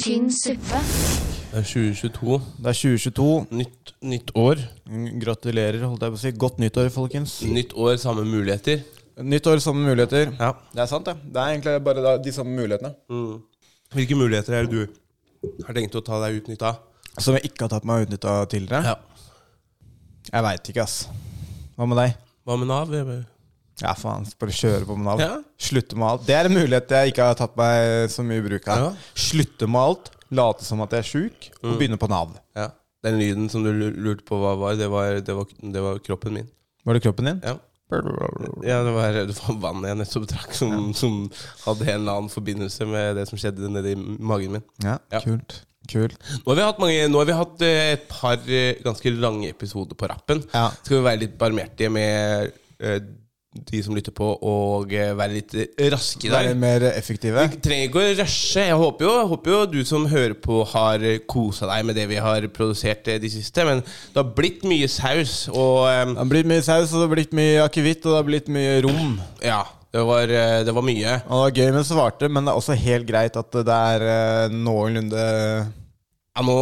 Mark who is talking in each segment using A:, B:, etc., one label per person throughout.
A: tynn suppe.
B: Det er 2022.
C: Det er 2022.
B: Eh, Nytt, nytt år.
C: Mm, Gratulerer, holdt jeg på å si. Godt nyttår, folkens.
B: Nytt år, samme muligheter.
C: Nytt år, samme muligheter.
B: Ja.
C: Det er sant, det. Det er egentlig bare da- de samme mulighetene.
B: Mm. Hvilke muligheter er det du har tenkt å ta deg ut nytt av?
C: Som jeg ikke har tatt meg utnytta tidligere.
B: Ja.
C: Jeg veit ikke, ass. Hva med deg?
B: Hva med Nav? Jeg bare-
C: Ja, faen. Bare kjøre på med alt.
B: Ja.
C: Slutte med alt. Det er en mulighet jeg ikke har tatt meg så mye bruk av.
B: Ja.
C: Slutte med alt, late som at jeg er sjuk, og begynne på Nav.
B: Ja. Den lyden som du lu- lurte på hva var, det var, det var, det var kroppen min.
C: Var det kroppen din?
B: Ja. Ja, det var, det var vannet jeg nettopp drakk, som, som hadde en eller annen forbindelse med det som skjedde nedi magen min.
C: Ja,
B: Ja.
C: kult. Kult.
B: Nå har vi hatt, mange, nå har vi hatt eh, et par eh, ganske lange episoder på rappen.
C: Ja.
B: Skal vi være litt barmhjertige med eh, de som lytter på, og eh, være litt eh, raske der.
C: Være mer effektive.
B: Vi trenger ikke å rushe. Jeg håper jo, jeg håper jo du som hører på, har kosa deg med det vi har produsert eh, de siste. Men det har blitt mye saus, og eh,
C: Det har blitt mye saus, og det har blitt mye akevitt, og det har blitt mye rom.
B: ja, det var, eh, det var mye.
C: Og det var gøy med svarte, men det er også helt greit at det er eh, noenlunde
B: Ja, nå,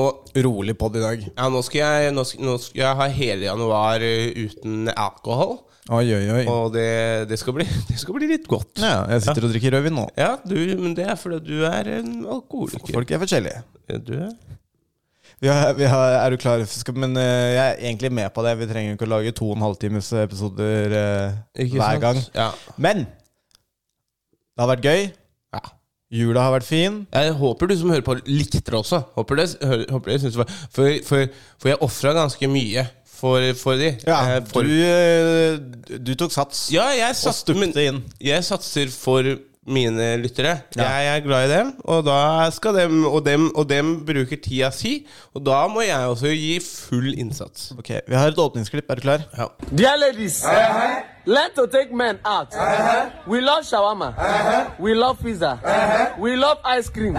C: rolig pod i dag.
B: ja, nå, skal jeg, nå, skal, nå skal jeg ha hele januar eh, uten alkohol,
C: Oi, oi, oi.
B: og det, det, skal, bli, det skal bli litt godt.
C: Ja, jeg sitter og drikker rødvin nå.
B: Ja, du, men det er fordi du er en alkoholiker.
C: Folk er forskjellige.
B: Du er
C: Vi har, vi har, er du klar? Skal, men eh, jeg er egentlig med på det. Vi trenger ikke å lage to og en halv times episoder eh,
B: Ikke
C: hver
B: sant?
C: gang.
B: Ja.
C: Men det har vært gøy.
B: ja.
C: Jula har vært fin.
B: Jeg håper du som hører på, likte det også. Håper det, hø- håper det synes det var, for, for, for jeg ofra ganske mye for, for de.
C: Ja,
B: Eh, for,
C: du, eh, du tok sats
B: ja jeg,
C: og
B: sats, men,
C: stupte inn.
B: jeg satser for mine lyttere.
C: Ja.
B: Jeg er glad i dem, og da skal dem og dem og dem bruker tida si. Og da må jeg også gi full innsats.
C: Ok, Vi har et åpningsklipp. Er du klar?
B: Ja.
D: Dear ladies, learn to take men out. We love shawarma. We love pizza. We love ice cream.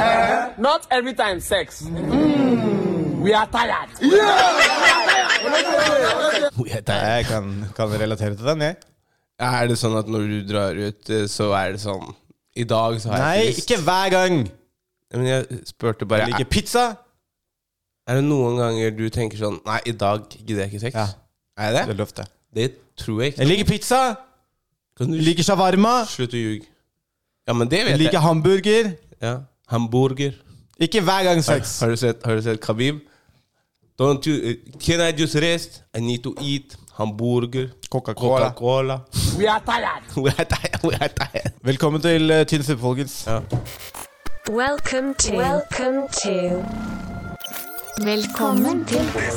D: Not every time sex. Mm, We are tired.
C: Jeg kan, kan relatere til den, jeg.
B: Er det sånn at når du drar ut, eh, så er det sånn I dag så har
C: Nei,
B: jeg
C: ikke hver gang.
B: Men jeg spurte bare
C: Jeg liker pizza.
B: Er det noen ganger du tenker sånn Nei, i dag gidder jeg ikke sex?
C: Ja.
B: Er det det?
C: Veldig ofte.
B: Det tror jeg ikke.
C: Jeg liker pizza.
B: Kan du
C: Jeg liker shawarma.
B: Slutt å ljuge. Ja, men det vet jeg.
C: Jeg liker hamburger.
B: Ja. Hamburger.
C: Ikke hver gang sex.
B: Har du sett, har du sett Khabib? Don't you, eh, can I just rest? I need to eat. Hamburger.
C: Coca-Cola.
B: Coca-Cola.
D: We are tired.
B: We are tired, we are tired.
C: Velkommen til eh, Tynn suppe, folkens.
B: Ja.
E: Welcome to. Welcome to.
A: Velkommen til
F: Vet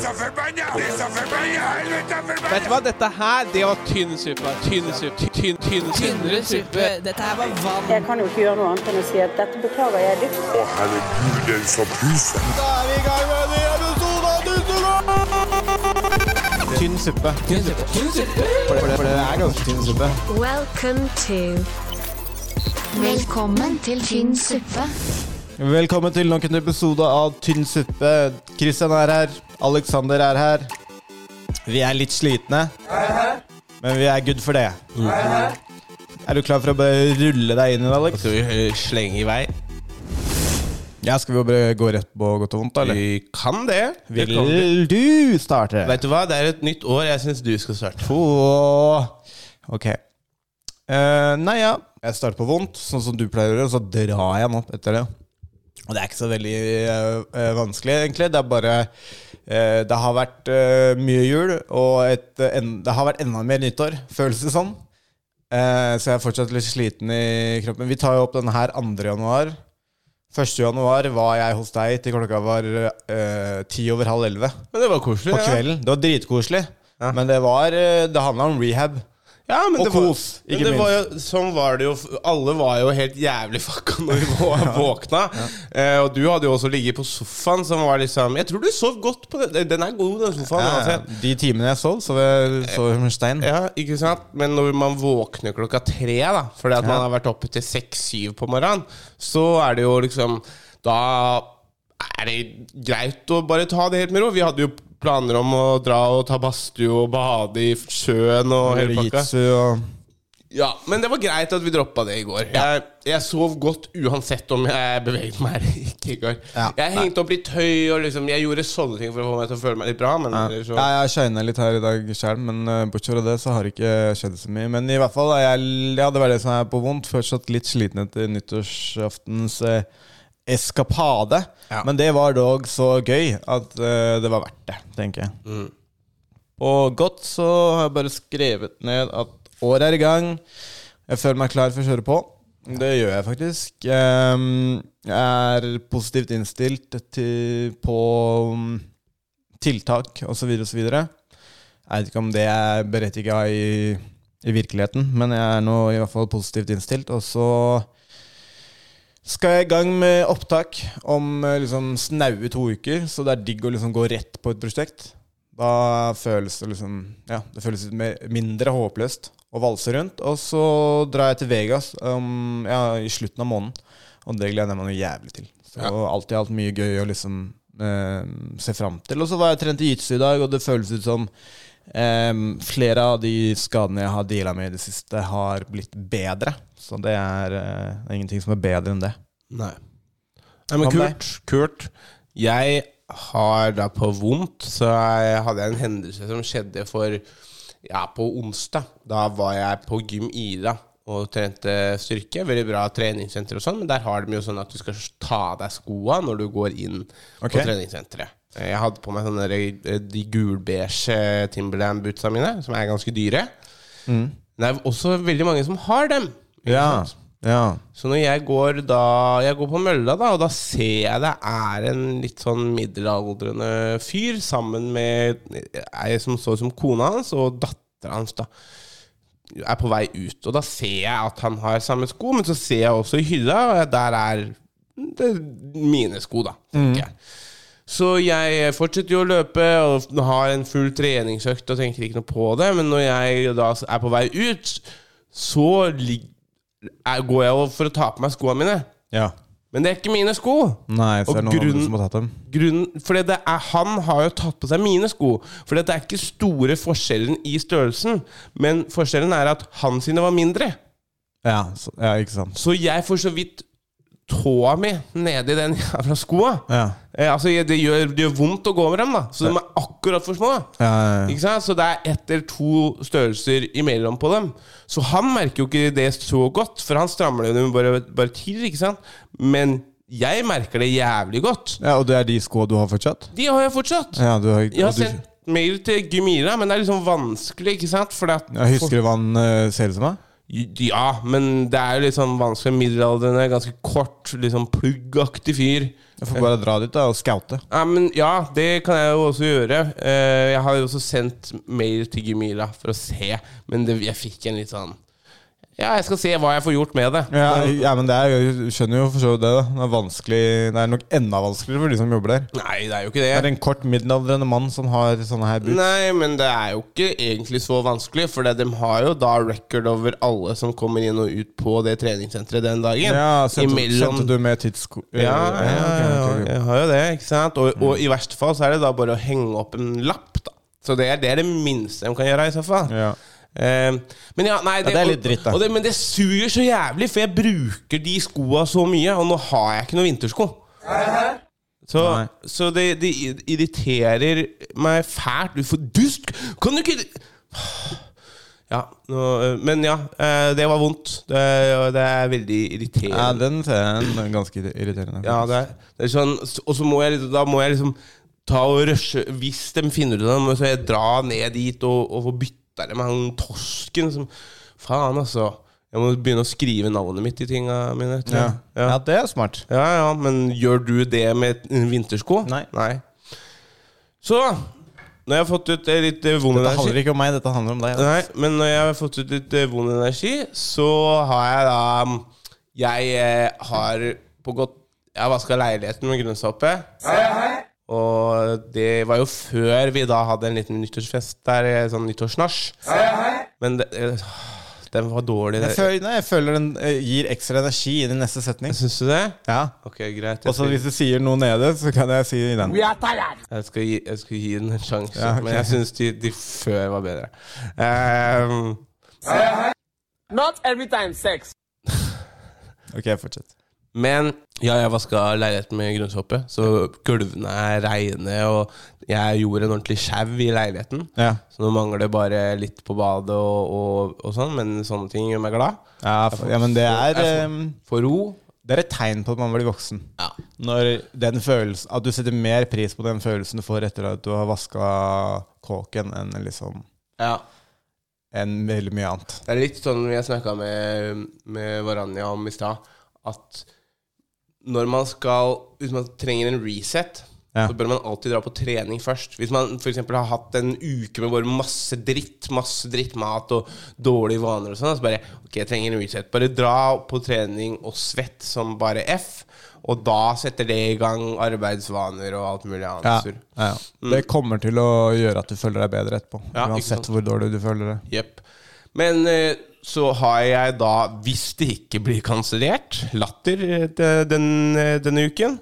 G: Vet du hva, dette her, det var tynn suppe. Tynn suppe. Tynn, tynn, tynnere suppe.
H: Dette her var vann.
I: Jeg kan jo ikke gjøre noe annet enn å si at dette beklager jeg dypt.
G: Å, herregud, den som puser.
C: Da er vi i gang med en ny episode av Tynn suppe! Tynn suppe. For, det- for det er ganske tynn suppe.
E: Welcome to.
A: Velkommen til tynn suppe.
C: Velkommen til nok en episode av Tynn suppe. Christian er her. Alexander er her. Vi er litt slitne, men vi er good for det. Er du klar for å bare rulle deg inn i det, Alex?
B: Skal vi eh, slenge i vei?
C: Ja, Skal vi bare gå rett på godt og vondt, eller?
B: Vi kan det. Velkommen.
C: Vil du starte?
B: Vet du hva, det er et nytt år. Jeg syns du skal starte.
C: Åh, Ok. Eh, nei, ja. Jeg starter på vondt, sånn som du pleier å gjøre, og så drar jeg den opp etter det. Og det er ikke så veldig eh, eh, vanskelig, egentlig. Det er bare eh, Det har vært eh, mye jul, og et, eh, en, det har vært enda mer nyttår, føles det som. Eh, så jeg er fortsatt litt sliten i kroppen. Vi tar jo opp denne her 2. januar. 1. januar var jeg hos deg til klokka var eh, ti over halv elleve
B: Men det var koselig.
C: på
B: ja.
C: kvelden. Det var dritkoselig. Men det var eh, Det handla om rehab.
B: Ja, men
C: Og
B: det var,
C: kos, ikke
B: men det var jo, Sånn var det jo. Alle var jo helt jævlig fucka når vi vå- våkna. Eh, og du hadde jo også ligget på sofaen, som var liksom Jeg tror du sov godt på den. Den er god, den sofaen.
C: Ja, ja.
B: uansett.
C: De timene jeg sov, sov jeg sov jeg som en stein.
B: Ja, ikke sant? Men når man våkner klokka tre, da fordi at man har vært oppe til seks-syv på morgenen, så er det jo liksom Da er det greit å bare ta det helt med ro. Vi hadde jo planer om å dra og ta badstue og bade i sjøen og hele pakka.
C: Jitsu og
B: Ja, men det var greit at vi droppa det i går. Jeg, jeg sov godt uansett om jeg beveget meg eller ikke i går.
C: Ja,
B: Jeg
C: nei.
B: hengte opp litt høy, og liksom, jeg gjorde sånne ting for å få meg til å føle meg litt bra. Men
C: Ja,
B: ellers så
C: Ja, jeg shina litt her i dag sjøl, men eh, bortsett fra det så har det ikke skjedd så mye. Men i hvert fall, er jeg, ja, det var det som er på vondt. Fortsatt litt sliten etter nyttårsaftens eh, eskapade.
B: Ja.
C: Men det var dog så gøy at eh, det var verdt det, tenker jeg.
B: Mm.
C: Og godt så har jeg bare skrevet ned at året er i gang. Jeg føler meg klar for å kjøre på. Det gjør jeg faktisk. Ehm, Jeg er positivt innstilt til, på mm, tiltak osv. osv. Jeg vet ikke om det er berettiga i, i virkeligheten, men jeg er nå i hvert fall positivt innstilt. Og så skal jeg i gang med opptak om eh, liksom snaue to uker, så det er digg å liksom gå rett på et prosjekt. Da føles det liksom Ja, det føles litt mer, mindre håpløst å valse rundt. Og så drar jeg til Vegas um, ja, i slutten av måneden, og det gleder jeg meg noe jævlig til. Så alt i alt mye gøy å liksom eh, se fram til. Og så var jeg trent i jitsu i dag, og det føles ut som Ehm, flere av de skadene jeg har deala med i det siste, har blitt bedre. Så det er eh, ingenting som er bedre enn det.
B: Nei. Nei, men
C: Hva med
B: Kurt, Kurt Jeg har da på vondt Så jeg hadde jeg en hendelse som skjedde for Ja, på onsdag Da var jeg på Gym Ida Og trente styrke Veldig bra treningssenter og sånn Men der har de jo sånn at du skal ta av deg skoa Når du går inn
C: Ok.
B: på treningssenteret Jeg hadde på meg sånne der- De gulbeige Timberland bootsa mine Som er ganske dyre Mm. Det er også veldig mange som har dem ikke
C: Ja,
B: sant?
C: ja.
B: Så når jeg går da Jeg går på mølla, da, og da ser jeg det er en litt sånn middelaldrende fyr sammen med ei som så ut som kona hans, og dattera hans, da. Er på vei ut. Og da ser jeg at han har samme sko, men så ser jeg også i hylla, og der er det mine sko, da. tenker jeg. Så jeg fortsetter jo å løpe og har en full treningsøkt og tenker ikke noe på det. Men når jeg da er på vei ut, så lig- er- går jeg jo for å ta på meg skoene mine.
C: ja.
B: Men det er ikke mine sko.
C: Nei, så
B: Og
C: er det noen
B: grunnen-
C: andre som har tatt dem.
B: Grunnen, fordi det er, han har jo tatt på seg mine sko. For det er ikke store forskjellen i størrelsen, men forskjellen er at han sine var mindre.
C: Ja, så, ja, ikke sant.
B: Så jeg får så vidt tåa mi nedi den jævla skoa.
C: Ja.
B: Eh, altså, jeg- det gjør, det gjør vondt å gå med dem, da. Så de er akkurat for små.
C: Ja, ja, ja.
B: Ikke sant? Så det er ett eller to størrelser imellom på dem. Så han merker jo ikke det så godt, for han strammer dem bare, bare til, ikke sant? Men jeg merker det jævlig godt.
C: ja, Og det er de skoa du har fortsatt?
B: De har jeg fortsatt.
C: Ja, du har,
B: Jeg har
C: og du,
B: sendt mail til Gymira, men det er liksom vanskelig, ikke sant? Fordi at
C: ja, husker du hva han eh, ser ut som? da?
B: Ja, men det er jo litt sånn vanskelig. Middelaldrende, ganske kort, litt sånn pluggaktig fyr.
C: Jeg får bare dra dit da og scoute.
B: Ja, men ja, det kan jeg jo også gjøre. Eh, jeg har jo også sendt mail til Gemila for å se, men det, jeg fikk en litt sånn Ja, jeg skal se hva jeg får gjort med det.
C: Ja, ja, men det er, Jeg skjønner jo for så vidt det. da Det er vanskelig Det er nok enda vanskeligere for de som jobber der.
B: Nei, det er jo ikke
C: Det er
B: det.
C: en kort middelaldrende mann som har sånne her boots.
B: Nei, men det er jo ikke egentlig så vanskelig, for det- de har jo da record over alle som kommer inn og ut på det treningssenteret den dagen.
C: Ja, sendte,
B: Imellom-
C: sendte du med tidsko...
B: Ja, ja,
C: ok,
B: ja,
C: ok, Mm. ok.
B: jeg har jo det, ikke sant? Og, og i verste fall så er det da bare å henge opp en lapp, da. Så det er det, er det minste de kan gjøre i så fall.
C: Ja.
B: Eh, men ja, nei, det,
C: det er litt dritt, da.
B: Og det, men det suger så jævlig, for jeg bruker de skoa så mye, og nå har jeg ikke noen vintersko. Så,
C: Nei.
B: så det, det irriterer meg fælt. Du får dust! Kan du ikke Ja, nå, eh, men ja. eh, Det var vondt. Det, det er veldig irriterende.
C: Ja, den serien er ganske irriterende.
B: Ja, det er, det er sånn Og så må jeg, liksom- da må jeg liksom ta og rushe Hvis de finner ut av det, så må jeg dra ned dit og, og få bytta det med han tosken som Faen, altså. Jeg må begynne å skrive navnet mitt i tinga mine. tror
C: ja.
B: jeg.
C: ja,
B: Ja.
C: det er smart.
B: ja, ja, men gjør du det med en vintersko?
C: Nei.
B: Så Når jeg har fått ut eh, litt eh, vond
C: Dette
B: energi
C: handler ikke om meg, dette handler om deg. altså.
B: Nei, men når jeg har fått ut litt eh, vond energi, så har jeg da mm, Jeg eh, har på godt Jeg har vaska leiligheten med grønnsåpe. Og det var jo før vi da hadde en liten nyttårsfest der, eh, sånn nyttårsnasj. Men det, eh, den var dårlig.
C: Jeg føler, nei, jeg føler den eh, gir ekstra energi i den neste setning.
B: Syns du det?
C: Ja.
B: Ok, greit.
C: Og
B: Jeg
C: så
B: skal,
C: hvis du sier noe nede, så kan jeg si den.
D: We are tired.
B: jeg skal, gi, jeg skal gi den en sjanse,
C: Ja, ok.
B: men jeg syns de, de før var bedre. Ehm,
D: Not every time sex.
C: Ok, fortsett.
B: Men ja, jeg vaska leiligheten med grønnsåpe, så gulvene er reine, og jeg gjorde en ordentlig sjau i leiligheten.
C: Ja.
B: Så nå mangler det bare litt på badet og, og, og sånn, men sånne ting gjør meg glad.
C: Ja, for, ja, men det er,
B: Jeg
C: ehm,
B: Får ro.
C: det er et tegn på at man blir voksen.
B: Ja.
C: Når den følelsen, At du setter mer pris på den følelsen du får etter at du har vaska kåken, enn liksom
B: ja.
C: enn veldig mye annet.
B: Det er litt sånn jeg snakka med, med Varanja om i stad, at når man skal Hvis man trenger en reset,
C: Ja.
B: så bør man alltid dra på trening først. Hvis man f.eks. har hatt en uke med bare masse dritt, masse drittmat og dårlige vaner og sånn, så bare Ok, jeg trenger en reset. Bare dra på trening og svett som bare F, og da setter det i gang arbeidsvaner og alt mulig annet.
C: Ja,
B: surr.
C: ja. Det kommer til å gjøre at du føler deg bedre etterpå.
B: Mm. Ja, ikke sant.
C: uansett hvor dårlig du føler det.
B: Jepp. Men eh, så har jeg da, hvis det ikke blir kansellert, latter eh, de- den, eh, denne uken.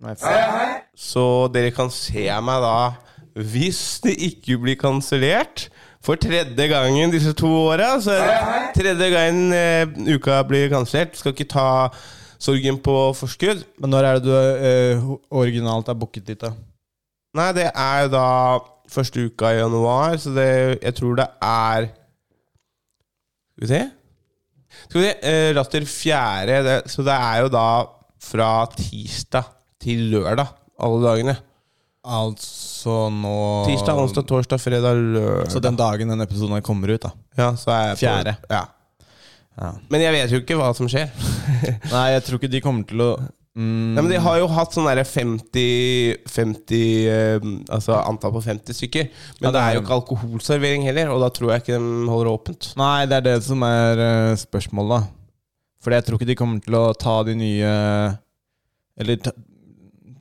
C: Nei, f-
B: Så dere kan se meg da, hvis det ikke blir kansellert. For tredje gangen disse to åra. Så er det tredje gangen eh, uka blir kansellert. Skal ikke ta sorgen på forskudd.
C: Men når er det du eh, ho- originalt er booket dit, da?
B: Nei, det er jo da første uka i januar, så det, jeg tror det er Skal vi se Skal vi se, eh, Latter fjerde, det, så det er jo da fra tirsdag til lørdag, alle dagene.
C: Altså nå
B: Tirsdag, onsdag, torsdag, fredag, lørdag.
C: Så den dagen den episoden her kommer ut, da.
B: ja, så er jeg på-
C: Fjerde.
B: Ja.
C: Ja.
B: Men jeg vet jo ikke hva som skjer.
C: Nei, jeg tror ikke de kommer til å mm,
B: Nei, men De har jo hatt sånn derre 50, 50 eh, Altså antall på 50 stykker. Men
C: Ja,
B: det,
C: det
B: er
C: er
B: jo ikke alkoholservering heller, og da tror jeg ikke de holder åpent.
C: Nei, det er det som er eh, spørsmålet. Fordi jeg tror ikke de kommer til å ta de nye Eller ta,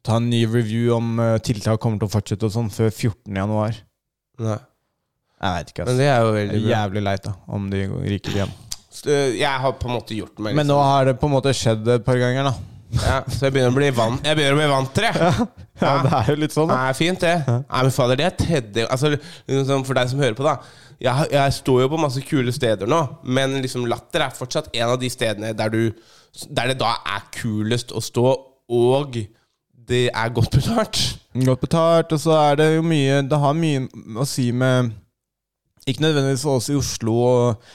C: ta en ny review om eh, tiltak kommer til å fortsette og sånn før 14. januar.
B: Nei.
C: Jeg veit ikke,
B: Men
C: altså.
B: det er jo
C: Det
B: veldig
C: er
B: bra.
C: jævlig leit da, om de ryker igjen.
B: Så, øh, Jeg har på en måte gjort meg
C: Men nå har det på en måte skjedd et par ganger, da.
B: ja, Så jeg begynner å bli vant Jeg begynner å bli vant til det.
C: Ja, det er jo litt sånn,
B: Det
C: da.
B: er fint, det. Nei, men fader, det er tredje altså, liksom, For deg som hører på, da. Jeg, jeg står jo på masse kule steder nå, men liksom Latter er fortsatt en av de stedene der, du, der det da er kulest å stå, og det er godt betalt.
C: Godt betalt, og så er det jo mye Det har mye å si med Ikke nødvendigvis for oss i Oslo og,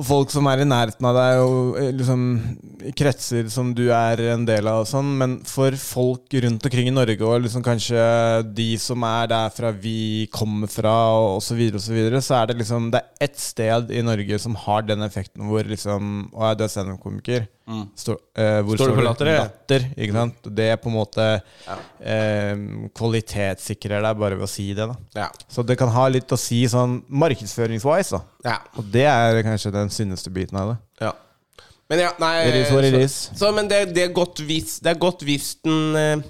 C: og folk som er i nærheten av deg, og eh, liksom i kretser som du er en del av og sånn, men for folk rundt omkring i Norge og liksom kanskje de som er derfra vi kommer fra, og osv., så, videre, og så, videre, så er det liksom Det er ett sted i Norge som har den effekten hvor liksom Å, ja, du er standup-komiker. Står, eh, hvor
B: Mm. Står du på latter, eller?
C: latter, ikke sant? Det er på en måte eh, kvalitetssikrer deg bare ved å si det. da
B: Ja.
C: Så det kan ha litt å si sånn markedsføringswise. da
B: ja.
C: Og det er kanskje den sunneste biten av det.
B: ja. Men ja, nei
C: It is what it
B: så,
C: is.
B: så, Men det, det er godt hvis Det er godt hvis den eh,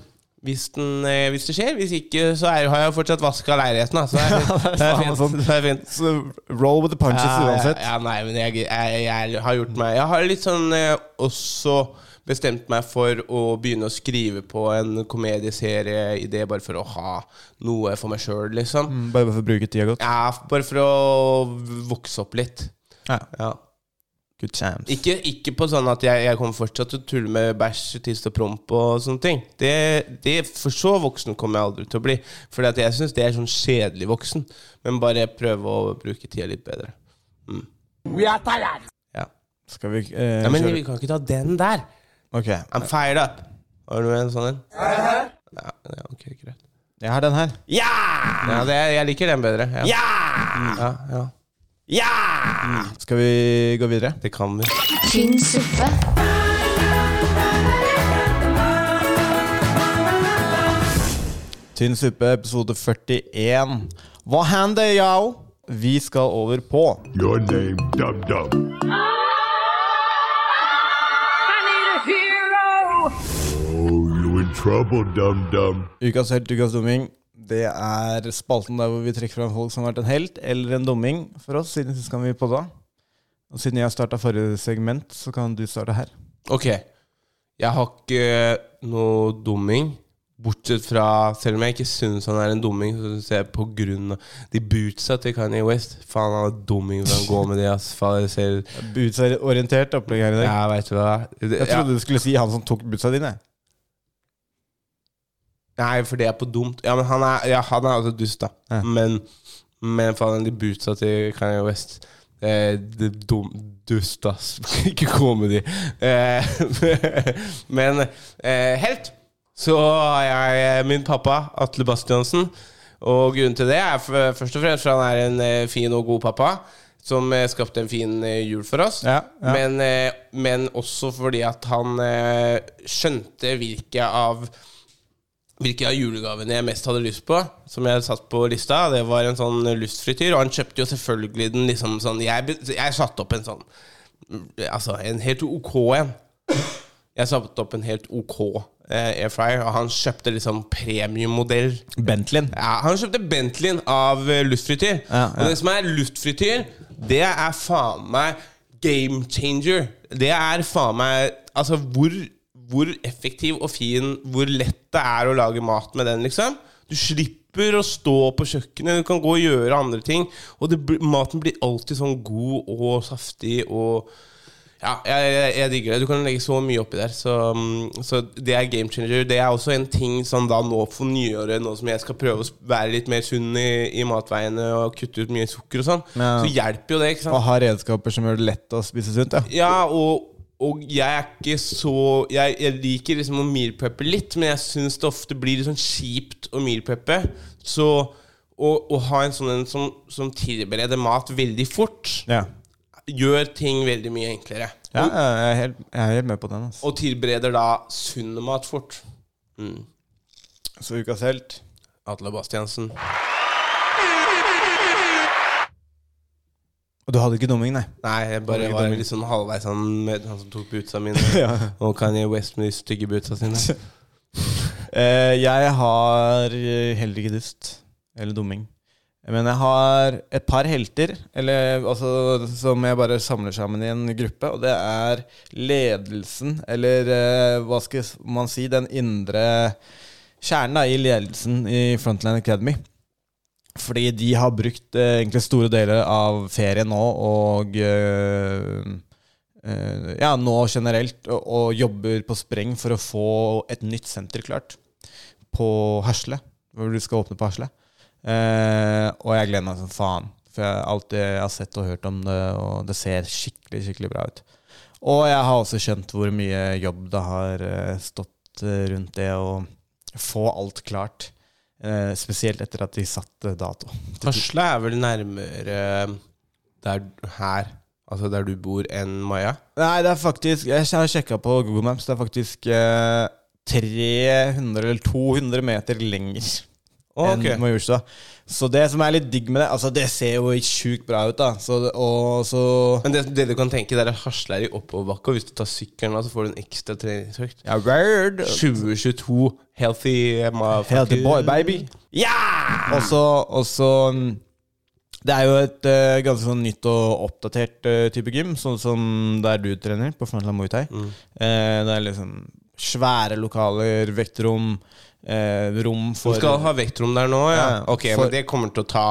B: hvis, den, eh, hvis det skjer. Hvis ikke, så er, har jeg fortsatt vaska leiligheten. Da. Så det er, fint. det er
C: faen
B: fint.
C: sånn.
B: Det er fint.
C: Så roll with the punches uansett.
B: Ja, ja, nei, men jeg, jeg, jeg har gjort meg Jeg har litt sånn eh, også bestemt meg for å begynne å skrive på en komedieserie i det, bare for å ha noe for meg sjøl, liksom.
C: Mm, Bare for å bruke tida godt.
B: Ja, bare for å vokse opp litt.
C: Ja.
B: Ja.
C: Good chance.
B: Ikke, ikke på sånn at jeg, jeg kommer fortsatt til å tulle med bæsj, tiss og promp og sånne ting. Det, det For så voksen kommer jeg aldri til å bli. For jeg syns det er sånn kjedelig voksen. Men bare prøve å bruke tida litt bedre.
D: We are tired.
B: Ja.
C: Skal vi eh,
B: Ja, men
C: kjøre?
B: vi kan ikke ta den der.
C: Ok.
B: I'm fired up. Har du en sånn en? Ja, ja, ok, greit.
C: Jeg har den her.
B: Ja, det, jeg liker den bedre. Ja! Mm, Ja, ja.
C: Skal vi gå videre?
B: Det kan vi.
A: Tynn suppe.
C: Tynn suppe, episode 41. Hva hender, yao? Vi skal over på
F: Your name, Dub Dub. Oh, you in trouble, Dum Dum.
C: Ukas helt, ukas dumming. Det er spalten der hvor vi trekker fram folk som har vært en helt eller en dumming for oss. Siden sist kan vi på da. Og siden jeg starta forrige segment, så kan du starte her.
B: Ok. Jeg har ikke noe eh, dumming, Bortsett fra Selv om jeg ikke syns han er en dumming, så syns jeg på grunn av de bootsa til Kanye West Faen, han er dumming hvis han går med de, ass. Faen, jeg ser
C: Bootsorientert opplegg her i dag.
B: Ja, veit du hva. Det, ja.
C: Jeg trodde du skulle si han som tok bootsa dine.
B: Nei, for det er på dumt. Ja, men han er, ja, han er altså dust, da.
C: Ja.
B: Men, men faen, de bootsa til Kanye West eh, det er dum, Dust, ass. Ikke comedy. Eh, men eh, helt så har jeg eh, min pappa, Atle Bastiansen. Og grunnen til det er f- først og fremst for han er en eh, fin og god pappa. Som eh, skapte en fin eh, jul for oss.
C: Ja, ja.
B: Men, eh, men også fordi at han eh, skjønte hvilke av hvilke av julegavene jeg mest hadde lyst på, som jeg satt på lista, det var en sånn lystfrityr. Og han kjøpte jo selvfølgelig den liksom sånn Jeg, be- jeg satte opp en sånn Altså, en helt ok en. Jeg satte opp en helt ok eh, airfryer, og han kjøpte liksom premiummodell.
C: Bentleyen.
B: Ja, han kjøpte Bentleyen av eh, luftfrityr.
C: Ja, ja.
B: Og det som er luftfrityr, det er faen meg game changer. Det er faen meg Altså, hvor, hvor effektiv og fin, hvor lett det er å lage mat med den, liksom. Du slipper å stå på kjøkkenet, du kan gå og gjøre andre ting. Og det, blir- maten blir alltid sånn god og saftig og ja, jeg, jeg, jeg digger det. Du kan legge så mye oppi der. Så, mm, så det er game changer. Det er også en ting som da nå for nyåret, nå som jeg skal prøve å s- være litt mer sunn i, i matveiene og kutte ut mye sukker og sånn,
C: Ja.
B: så hjelper jo det. ikke sant?
C: Og har redskaper som gjør det lett å spise sunt. Ja.
B: Ja, og, og jeg er ikke så Jeg, jeg liker liksom å mealpreppe litt, men jeg syns det ofte blir litt sånn kjipt å mealpreppe. Så å, å ha en sånn en som, som tilbereder mat veldig fort,
C: Ja.
B: gjør ting veldig mye enklere.
C: Ja, ja, jeg, er helt, jeg er helt med på den. Altså.
B: Og tilbereder da sunn mat fort. Mm.
C: Så ukas helt
B: Atle Bastiansen.
C: Og du hadde ikke dumming, nei?
B: Nei, jeg bare
C: Oi,
B: var
C: Damien.
B: litt sånn halvveis han med han som tok bootsa mine.
C: Ja.
B: Og Kanye West med de stygge bootsa sine.
C: Eh, jeg har eh, heller ikke dust. Eller dumming. Men jeg har et par helter eller, altså, som jeg bare samler sammen i en gruppe. Og det er ledelsen, eller eh, hva skal man si, den indre kjernen da, i ledelsen i Frontline Academy. Fordi de har brukt eh, egentlig store deler av ferien nå og eh, eh, ja, nå generelt, og, og jobber på spreng for å få et nytt senter klart på Hasle. Hvor du skal åpne på Hasle. Eh, og jeg gleder meg som faen. For jeg, alt det jeg har sett og hørt om det, og det ser skikkelig skikkelig bra ut. Og jeg har også skjønt hvor mye jobb det har eh, stått eh, rundt det å få alt klart. Eh, spesielt etter at de satte dato.
B: Hasle er vel nærmere eh, der her, altså der du bor, enn Maja?
C: Nei, det er faktisk Jeg har sjekka på Google Maps. Det er faktisk eh, 300 eller 200 meter lenger
B: ok.
C: enn Majorstua. Så det som er litt digg med det Altså, det ser jo sjukt bra ut, da. Så, det- og så
B: Men det, det du kan tenke, det er at Hasle er i oppoverbakke, og hvis du tar sykkelen, da, så får du en ekstra treningsøkt.
C: Ja, word.
B: 2022 healthy eh, motherfucker.
C: Healthy boy, baby. Ja! Og så, og så mm, Det er jo et eh, ganske sånn nytt og oppdatert eh, type gym, sånn som der du trener, på Frontline Muay Thai.
B: Mm.
C: Eh, det er liksom svære lokaler, vektrom, eh, rom
B: Du
C: for
B: skal ha vektrom der nå, ja?
C: Ja,
B: ok,
C: for-
B: men det kommer til å ta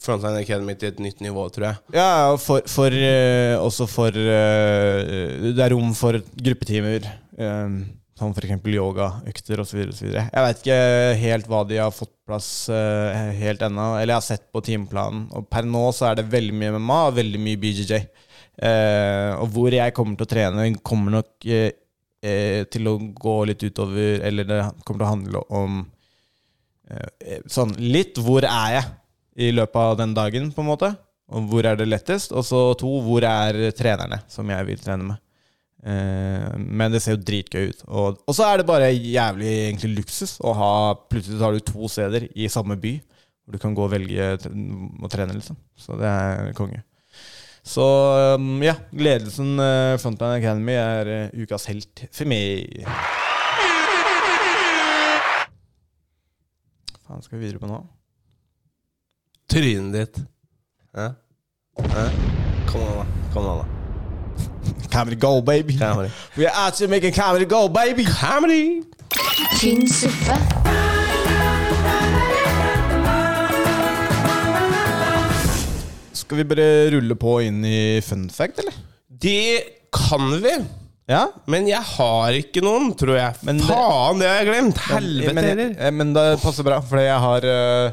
B: Frontline Academy til et nytt nivå, tror jeg.
C: Ja, og for, for eh, også for eh, Det er rom for gruppetimer. eh, Som for eksempel yogaøkter osv. Jeg veit ikke helt hva de har fått plass eh, helt ennå. Eller jeg har sett på timeplanen. Og per nå så er det veldig mye MMA og veldig mye BJJ. Eh, og hvor jeg kommer til å trene, kommer nok eh, eh, til å gå litt utover Eller det kommer til å handle om eh, sånn litt hvor er jeg i løpet av den dagen, på en måte. Og hvor er det lettest? Og så to, hvor er trenerne som jeg vil trene med? Eh, men det ser jo dritgøy ut. Og, og så er det bare jævlig egentlig luksus å ha Plutselig har du to steder i samme by hvor du kan gå og velge t- å trene, liksom. Så det er konge. Så um, ja, ledelsen eh, Frontline Academy er eh, ukas helt for meg. Faen, skal vi videre på nå?
B: Trynet ditt. Hæ? Hæ? Kom an, da. Kom an, da.
C: Comedy gold, baby.
B: Comedy.
C: We are out here making comedy gold, baby.
B: Comedy!
A: Tynn suppe.
C: Skal vi bare rulle på inn i fun fact, eller?
B: Det kan vi,
C: Ja.
B: men jeg har ikke noen, tror jeg.
C: Men det-
B: Faen, det har jeg glemt! Helvete
C: men,
B: heller.
C: eh, men det passer bra, for jeg har eh,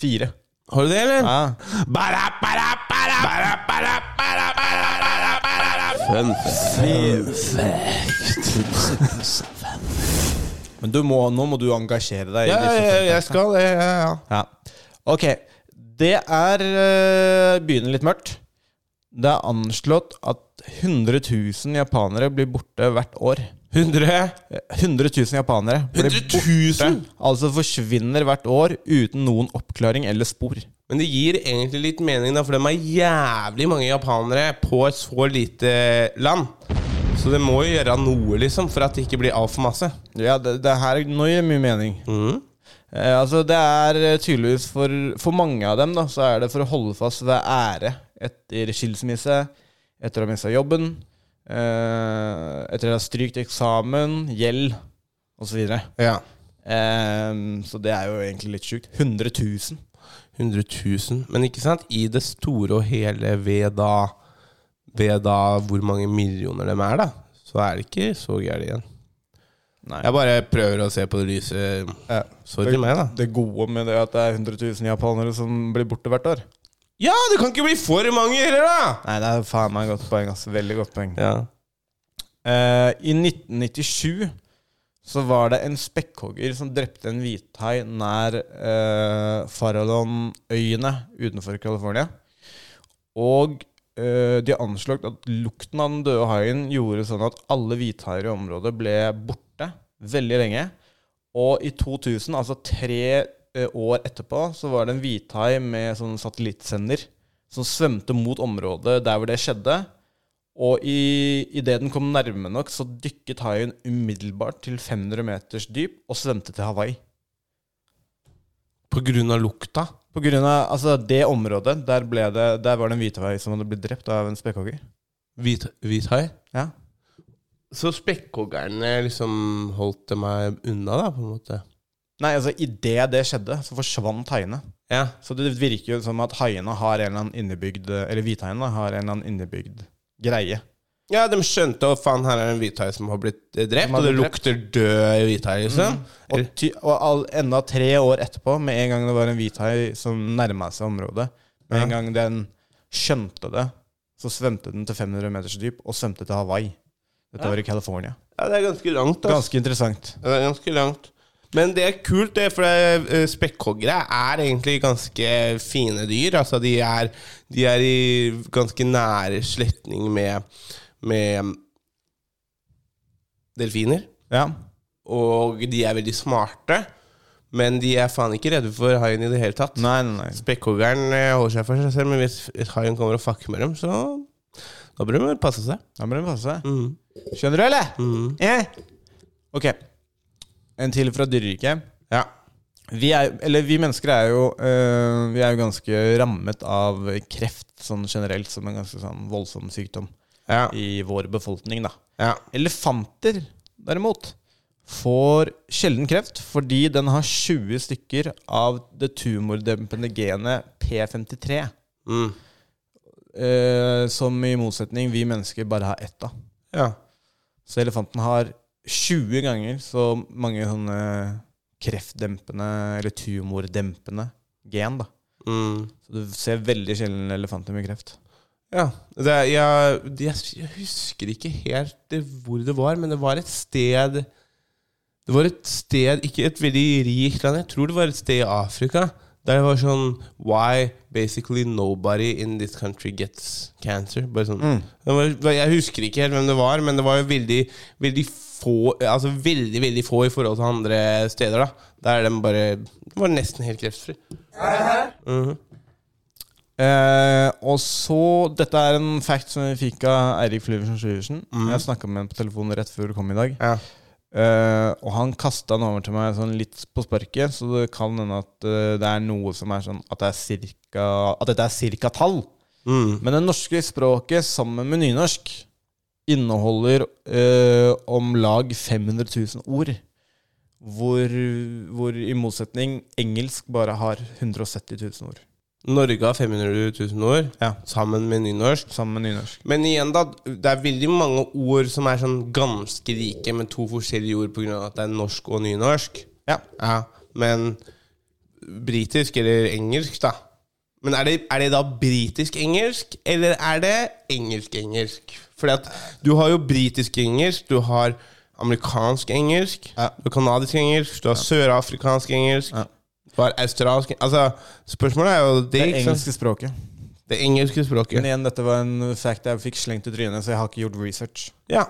C: fire.
B: Har du det, eller?
C: Ja.
B: Bara, bara, bara, bara, bara, bara, bara, bara, bara. Fun
C: Men du må, nå må du engasjere deg.
B: Ja,
C: i disse
B: ja,
C: fun
B: jeg
C: facts.
B: skal det. Ja, ja.
C: Ja. Ok, det er eh, Begynner litt mørkt. Det er anslått at 100 000 japanere blir borte hvert år.
B: 100
C: Eh, 100 000 japanere. blir
B: 100 000?
C: borte, Altså forsvinner hvert år uten noen oppklaring eller spor.
B: Men det gir egentlig litt mening, da, for de er jævlig mange japanere på et så lite land. Så det må jo gjøre noe, liksom, for at det ikke blir altfor masse.
C: Ja, det, det her nå gir mye mening. Eh, altså, det er eh, tydeligvis for, for mange av dem, da, så er det for å holde fast ved ære etter skilsmisse, etter å ha mista jobben, eh, etter å ha strykt eksamen, gjeld osv.
B: Ja.
C: Eh, så det er jo egentlig litt sjukt. 100 000.
B: 100 000. Men ikke sant, i det store og hele ved da, ved da hvor mange millioner de er, da, så er det ikke så gærent igjen.
C: Nei.
B: Jeg bare prøver å se på det lyse. Sorry meg, da.
C: Det gode med det at det er 100 000 japanere som blir borte hvert år.
B: Ja, det kan ikke bli for mange heller, da!
C: Nei, det er faen meg et godt poeng. ass. Veldig godt poeng.
B: Ja.
C: Eh, I 1997 så var det en spekkhogger som drepte en hvithai nær eh, Farallonøyene utenfor California. Og eh, de anslått at lukten av den døde haien gjorde sånn at alle hvithaier i området ble borte veldig lenge. Og i 2000, altså tre eh, år etterpå, så var det en hvithai med sånn satellittsender som svømte mot området der hvor det skjedde. Og i- idet den kom nærme nok, så dykket haien umiddelbart til 500 meters dyp og svømte til Hawaii.
B: På grunn av lukta.
C: På grunn av altså, det området, der, ble det, der var det en hvithai som hadde blitt drept av en spekkhogger.
B: Hvit, hvithai.
C: Ja.
B: Så spekkhoggerne liksom holdt meg unna, da, på en måte?
C: Nei, altså idet det skjedde, så forsvant haiene.
B: Ja.
C: Så det virker jo som at haiene har en eller annen innebygd Eller hvithaiene har en eller annen innebygd greie.
B: ja, de skjønte at faen, her er en hvithai som har blitt eh, drept,
C: har
B: og det
C: blitt
B: lukter død hvithai, liksom.
C: Og, ty, og all, enda tre år etterpå, med en gang det var en hvithai som nærma seg området, med en gang den skjønte det, så svømte den til 500 meters dyp og svømte til Hawaii. Dette var i California.
B: Ja, det er ganske langt, altså.
C: Ganske interessant.
B: Ja, Det er ganske langt. Men det er kult, det, for eh, spekkhoggere er egentlig ganske fine dyr. Altså, de er, de er i ganske nære slektning med, med mm, delfiner.
C: Ja.
B: Og de er veldig smarte, men de er faen ikke redde for haien i det hele tatt.
C: Nei, nei, nei.
B: Spekkhoggeren eh, holder seg for seg selv, men hvis hvis haien kommer og fucker med dem, så da bør de vel passe seg.
C: Da må du passe deg. Skjønner du, eller? Eh? Ok. En til fra dyreriket.
B: Ja.
C: Vi, er, eller, vi mennesker er jo, øh, vi er jo ganske rammet av kreft sånn generelt, som en ganske sånn voldsom sykdom
B: Ja.
C: i vår befolkning. da.
B: ja.
C: Elefanter, derimot, får sjelden kreft fordi den har 20 stykker av det tumordempende genet P53.
B: Mm.
C: eh, som i motsetning vi mennesker bare har ett av.
B: ja.
C: Så elefanten har 20 ganger så mange sånne kreftdempende eller tumordempende gen. da.
B: Mm.
C: Så du ser veldig sjelden elefanter med kreft.
B: Ja, det, er- jeg, de- jeg husker ikke helt det, hvor det var, men det var et sted Det var et sted, ikke et veldig rikt land, jeg tror det var et sted i Afrika, der det var sånn Why basically nobody in this country gets cancer? Bare sånn. det var, Jeg husker ikke helt hvem det var, men det var jo veldig, veldig få Altså veldig, veldig få i forhold til andre steder, da. Der de bare de var nesten helt kreftfri.
C: Eh, og så, Dette er en fact som vi fikk av Eirik Flyversen Syversen. Jeg snakka med ham på telefonen rett før du kom i dag.
B: Ja.
C: Eh, og han kasta den over til meg sånn litt på sparket, så det kan hende at eh, det er noe som er sånn at, det er cirka, at dette er cirka tall. Men det norske språket sammen med nynorsk inneholder eh, om lag 500 000 ord. Hvor, hvor i motsetning engelsk bare har 170 000 ord.
B: Norge har 500 000 ord,
C: Ja.
B: sammen med nynorsk.
C: Sammen med nynorsk.
B: Men igjen, da. Det er veldig mange ord som er sånn ganske like, med to forskjellige ord pga. at det er norsk og nynorsk.
C: Ja.
B: Ja, men britisk eller engelsk, da. Men er det, er det da britisk-engelsk, eller er det engelsk-engelsk? Fordi at du har jo britisk-engelsk, du har amerikansk-engelsk,
C: Ja.
B: du har kanadisk-engelsk, du har sørafrikansk-engelsk,
C: Ja.
B: du har australsk Altså, spørsmålet er jo det,
C: Det
B: ikke sant?
C: engelske språket.
B: Det engelske
C: Men
B: språket.
C: igjen, dette var en fact jeg fikk slengt i trynet, så jeg har ikke gjort research.
B: Ja.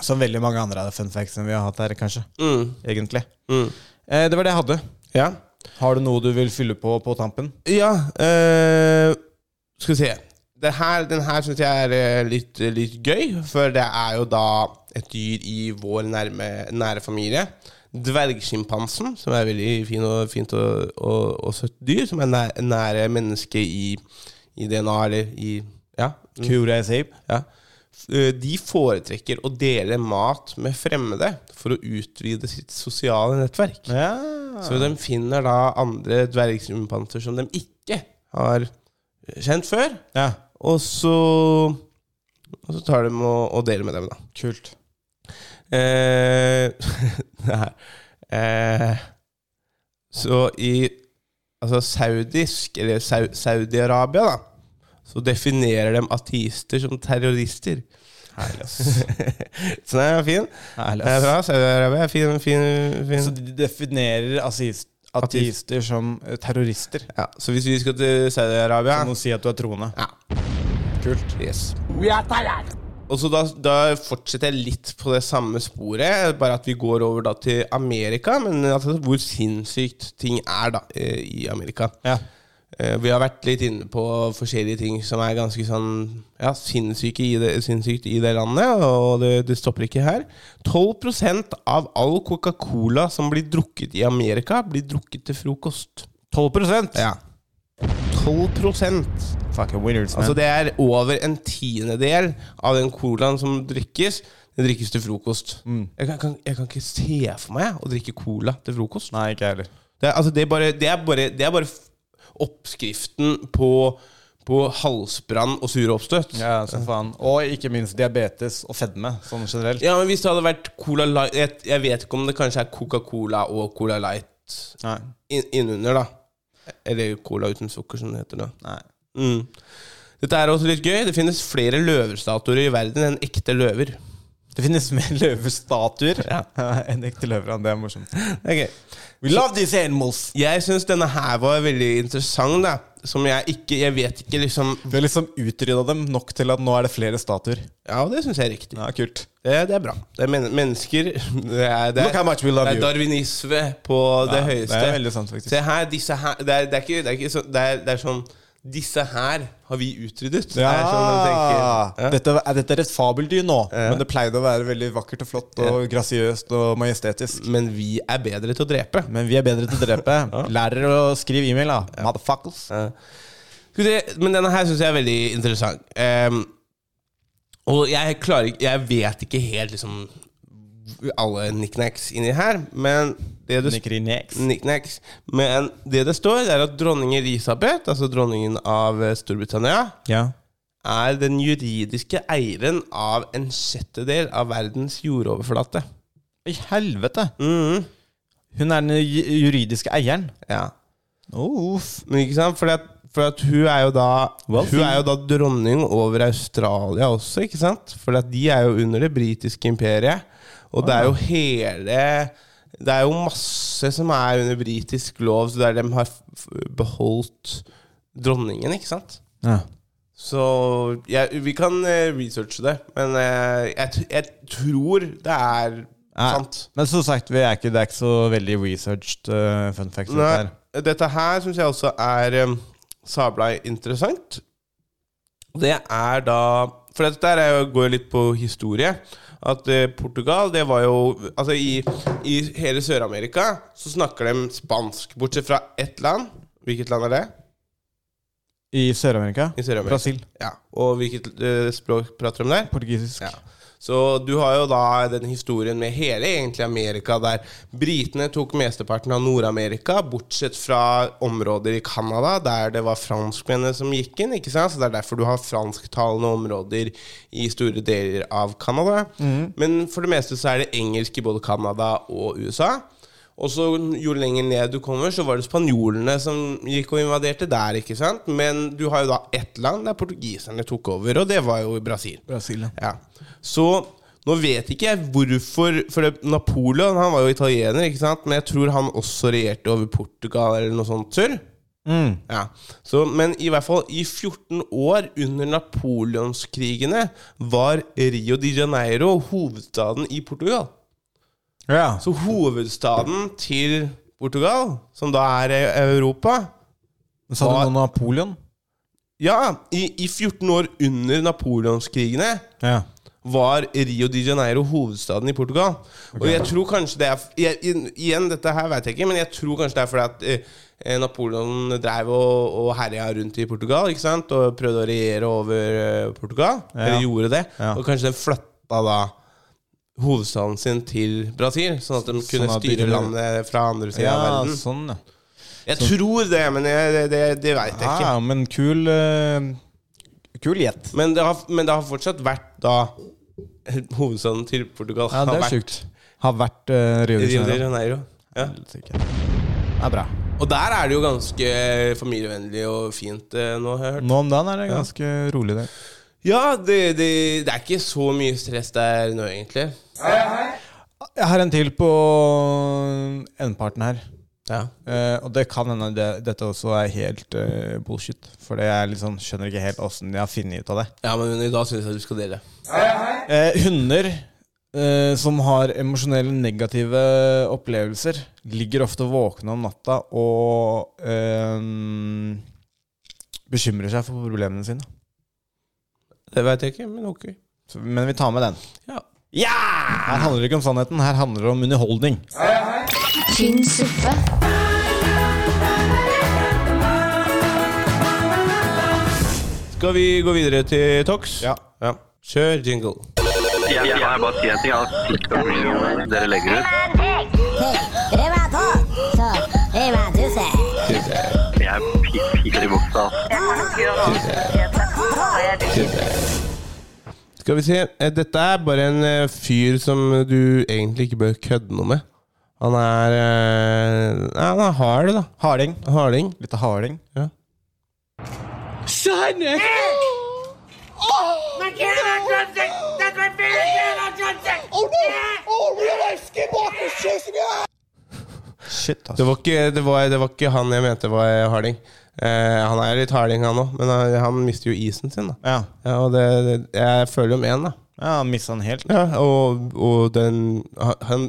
C: Som veldig mange andre av de fun factsene vi har hatt her, kanskje.
B: Mm.
C: Egentlig.
B: Mm.
C: Eh, det var det jeg hadde.
B: Ja.
C: Har du noe du vil fylle på på tampen?
B: Ja eh, Skal vi se. Det her, den her syns jeg er eh, litt, litt gøy, for det er jo da et dyr i vår nærme, nære familie. Dvergsjimpansen, som er veldig fin og, fint og, og, og søtt dyr, som er næ- nære mennesket i, i DNA, eller i Ja.
C: Kura is ape.
B: ja. F- eh, De foretrekker å dele mat med fremmede for å utvide sitt sosiale nettverk.
C: Ja.
B: Så de finner da andre dvergsjimpanser som de ikke har kjent før.
C: ja.
B: Og så, og så tar de og, og deler med dem, da.
C: Kult.
B: Eh, det her. eh, så i altså saudisk, eller Sau Saudi-Arabia, da, så definerer de ateister som terrorister.
C: Herlig, ass.
B: Så den er fin.
C: Herlig,
B: Det er
C: ass.
B: bra. Saudi-Arabia er fin, fin, fin.
C: Så de definerer ateist, ateister som eh, terrorister.
B: Ja, så hvis vi skal til Saudi-Arabia
C: Du må si at du er troende.
B: Ja.
C: Kult.
B: Yes.
D: We are tired.
B: Og så da, da fortsetter jeg litt på det samme sporet, bare at vi går over da til Amerika. Men altså hvor sinnssykt ting er da eh, i Amerika.
C: Ja.
B: Eh, Vi har vært litt inne på forskjellige ting som er ganske sånn ja, sinnssyke i det, sinnssykt i det landet, og det, det stopper ikke her. 12 av all Coca-Cola som blir drukket i Amerika, blir drukket til frokost.
C: 12
B: Ja. 12
C: Fucking winners, man.
B: Altså Det er over en tiendedel av den colaen som drikkes, den drikkes til frokost.
C: Mm.
B: Jeg, kan, kan, jeg kan ikke se for meg å drikke cola til frokost.
C: Nei, ikke jeg heller.
B: Det er, altså, det er, bare, det er, bare, det er bare f- oppskriften på, på halsbrann og sure oppstøt.
C: Ja, så faen. Og ikke minst diabetes og fedme, sånn generelt.
B: Ja, men Hvis det hadde vært Cola Light Jeg, jeg vet ikke om det kanskje er Coca-Cola og Cola Light
C: Nei.
B: inn- innunder, da. Eller Cola uten sukker, som det heter. da
C: Nei.
B: Mm. Dette er også litt gøy. Det finnes flere løverstatuer i verden enn ekte løver.
C: Det finnes mer løvestatuer enn ekte løver. Det er morsomt.
B: Ok.
C: We love these animals!
B: Jeg syns denne her var veldig interessant, da. Som jeg ikke Jeg vet ikke, liksom
C: Du har liksom utrydda dem nok til at nå er det flere statuer. Eh.
B: Ja, det syns jeg er riktig.
C: Ja, kult.
B: Det, det er bra. Det er men mennesker Det er, det
C: Look how
B: er,
C: much we love
B: det er
C: you.
B: darwinisme på det
C: Ja,
B: høyeste.
C: det er veldig sant, faktisk.
B: Se her, disse her Det er, det er ikke, det er ikke så, det er, det er sånn Disse her har vi utryddet. Det er sånn de tenker. Ja.
C: Dette, er, dette er et fabeldyr nå, men det pleide å være veldig vakkert og flott og grasiøst og majestetisk.
B: Men vi er bedre til å drepe.
C: Men vi er bedre til å drepe. Lær dere å skrive e-mail, da. Motherfuckers.
B: Skal vi se, men denne her syns jeg er veldig interessant. Ehm, og jeg klarer ikke Jeg vet ikke helt liksom alle knickknacks inni her, men det det,
C: Nikrinex.
B: knickknacks. men det det står, det er at dronning Elisabeth, altså dronningen av eh, Storbritannia,
C: Ja.
B: er den juridiske eieren av en sjettedel av verdens jordoverflate.
C: I helvete!
B: Mhm,
C: Hun er den ju- juridiske eieren.
B: ja.
C: Uff.
B: Men ikke sant? Fordi at, for at hun er jo da
C: Wealthy.
B: Hun er jo da dronning over Australia også, ikke sant? For at de er jo under det britiske imperiet. Og det er jo hele Det er jo masse som er under britisk lov, så der de har f- f- beholdt dronningen, ikke sant?
C: Ja.
B: Så ja, vi kan eh, researche det, men eh, jeg, t- jeg tror det er sant.
C: Men som sagt, vi er ikke, det er ikke så veldig researched eh, fun facts. dette
B: Nei,
C: her.
B: dette her syns jeg også er um, sabla interessant. Det er da For dette her er jo- går jo litt på historie. At eh, Portugal, det var jo Altså, i, i hele Sør-Amerika så snakker de spansk, bortsett fra ett land. Hvilket land er det?
C: I Sør-Amerika?
B: I Sør-Amerika.
C: Brasil.
B: Ja. Og hvilket eh, språk prater de om der?
C: Portugisisk.
B: Ja. Så du har jo da den historien med hele egentlig Amerika, der britene tok mesteparten av Nord-Amerika, bortsett fra områder i Canada, der det var franskmennene som gikk inn. ikke sant? Så Det er derfor du har fransktalende områder i store deler av Canada. Men for det meste så er det engelsk i både Canada og USA. Og så Jo lenger ned du kommer, så var det spanjolene som gikk og invaderte der. ikke sant? Men du har jo da ett land der portugiserne tok over, og det var jo Brasil.
C: Brasil, ja.
B: Ja. Så nå vet ikke jeg hvorfor For det, Napoleon han var jo italiener, ikke sant? men jeg tror han også regjerte over Portugal eller noe sånt surr. Ja. Så, men i hvert fall i 14 år under napoleonskrigene var Rio de Janeiro hovedstaden i Portugal.
C: ja.
B: Så hovedstaden til Portugal, som da er eh, Europa,
C: Sa du noe om Napoleon?
B: Ja, i, i 14 år under napoleonskrigene
C: Ja.
B: var Rio de Janeiro hovedstaden i Portugal. Og jeg tror kanskje det er jeg, i- Igjen, dette her vet jeg ikke, men jeg tror kanskje det er fordi at eh, Napoleon drev og, og herja rundt i Portugal ikke sant? og prøvde å regjere over eh, Portugal. Eller gjorde det.
C: Ja.
B: Og kanskje den flytta da hovedstaden sin til Brasil, sånn at de kunne
C: at de
B: styre
C: kunne-
B: landet fra andre siden
C: ja,
B: av verden.
C: sånn, ja.
B: Jeg tror det, men jeg, det, det, det veit jeg ikke.
C: Ja, Ah, men kul eh, Kul gjett.
B: Men det, har, men det har fortsatt vært da eh, Hovedstaden til Portugal
C: Ja, det
B: har
C: er
B: vært
C: sjukt. Har vært eh, Rio de
B: Rio de
C: Janeiro.
B: Janeiro. Ja.
C: Det er bra.
B: Og der er det jo ganske familievennlig og fint eh, nå, har jeg hørt.
C: Nå om dagen er det ganske rolig der.
B: Ja, det, det, det er ikke så mye stress der nå, egentlig.
C: Jeg har en til på endeparten her.
B: Ja.
C: Eh, og det kan hende det, dette også er helt eh, bullshit. For det er litt sånn, skjønner ikke helt åssen de har funnet ut av det.
B: ja, men i dag syns jeg du skal dele.
C: Eh, hunder eh, som har emosjonelle negative opplevelser, ligger ofte våkne om natta og eh, bekymrer seg for problemene sine.
B: Det veit jeg ikke, men ok.
C: Så, men vi tar med den.
B: Ja.
C: Her handler det ikke om sannheten, her handler det om underholdning.
A: tynn suppe,
B: Skal vi gå videre til Tox? Ja. Kjør jingle.
H: Jeg, jeg kan jo bare si en ting. at TikTok-videoene dere legger ut Jeg er pi- piker i buksa.
B: Skal vi se. eh, Dette er bare en eh, fyr som du egentlig ikke bør kødde noe med. Han er eh, Nei, han er hard, da.
C: Harding.
B: Harding.
C: Litt av harding.
B: Ja.
C: Shit,
B: Det
C: altså.
B: var, ikke, det, var, det var ikke han jeg mente var harding. Eh, han er litt harding, han òg, men han, han mister jo isen sin. da
C: Ja,
B: ja, Og det, det, jeg føler jo med han, da.
C: ja mista den helt.
B: Ja, og, og den Han,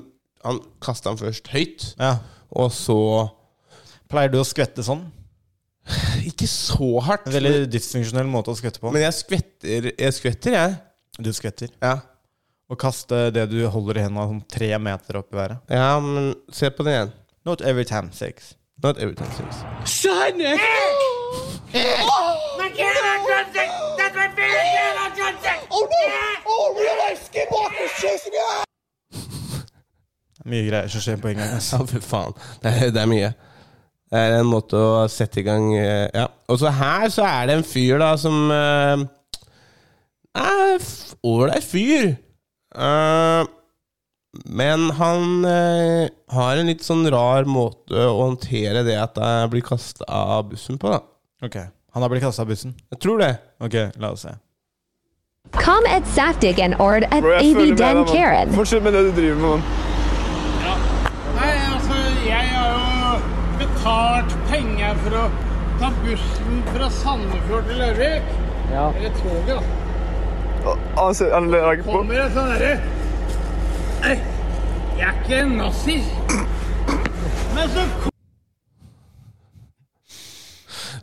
B: han kasta den først høyt,
C: Ja.
B: og så
C: Pleier du å skvette sånn?
B: Ikke så hardt,
C: En veldig dysfunksjonell måte å skvette på.
B: men jeg skvetter, jeg. skvetter jeg.
C: Du skvetter.
B: Ja.
C: Å kaste det du holder i hendene sånn tre meter opp i været.
B: ja, men se på den igjen.
C: Not every time sex.
B: Not every time sex.
C: Mye greier som skjer på en gang. altså. ass.
B: Ja, fy faen. Det er, det er mye. Det er en måte å sette i gang eh, Ja. Og så her så er det en fyr da som eh, er f- ålreit fyr. Eh, men han eh, har en litt sånn rar måte å håndtere det at jeg blir kasta av bussen på, da.
C: Ok, Han har blitt kasta av bussen.
B: Jeg tror det.
C: Ok, la oss se.
J: Come at Saftig and Ord at AV Den Karen.
D: Fortsett med det du driver med, mann.
G: Nei, altså, jeg har jo betalt penger for å ta bussen fra Sandefjord til Larvik.
D: Ja.
G: Eller toget, da.
D: Altså, han legger ikke på.
G: Kommer det sånn derre Nei, Jeg er ikke en nazist. Men så